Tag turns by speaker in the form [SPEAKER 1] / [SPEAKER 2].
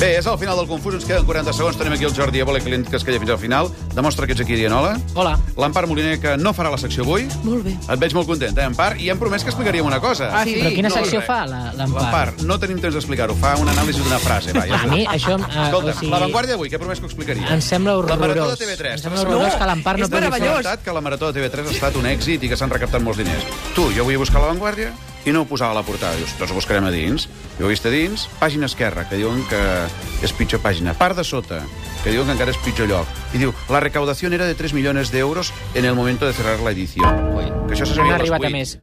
[SPEAKER 1] Bé, és el final del Confús, ens queden 40 segons. Tenim aquí el Jordi Évole, que li hem dit que es quedi fins al final. Demostra que ets aquí, Dianola.
[SPEAKER 2] Hola.
[SPEAKER 1] L'Empar Moliner, que no farà la secció avui.
[SPEAKER 3] Molt bé.
[SPEAKER 1] Et veig molt content, eh, Empar? I hem promès que explicaríem una cosa.
[SPEAKER 2] Ah, sí? Però quina
[SPEAKER 1] No, eh.
[SPEAKER 2] secció
[SPEAKER 1] res.
[SPEAKER 2] fa, la- l'Empar?
[SPEAKER 1] L'Empar, no tenim temps d'explicar-ho. Fa un anàlisi d'una frase. Va, ja
[SPEAKER 2] A mi, això... em- eh,
[SPEAKER 1] Escolta,
[SPEAKER 2] o sigui,
[SPEAKER 1] la Vanguardia d'avui, què promès que ho explicaria?
[SPEAKER 2] Em sembla horrorós.
[SPEAKER 1] La Marató de TV3.
[SPEAKER 2] Em sembla horrorós que l'Empar no
[SPEAKER 3] és
[SPEAKER 2] pugui
[SPEAKER 1] He
[SPEAKER 3] meravellós.
[SPEAKER 2] fer...
[SPEAKER 1] notat que la Marató de TV3 ha estat un èxit i que s'han recaptat molts diners. Tu, jo vull buscar la Vanguardia i no ho posava a la portada. Dius, doncs ho buscarem a dins. Jo ho he vist a dins. Pàgina esquerra, que diuen que és pitjor pàgina. Part de sota, que diuen que encara és pitjor lloc. I diu, la recaudació era de 3 milions d'euros en el moment de cerrar la edició. Que això se sabia a
[SPEAKER 2] Han
[SPEAKER 1] les
[SPEAKER 2] arribat a
[SPEAKER 1] 8.
[SPEAKER 2] més.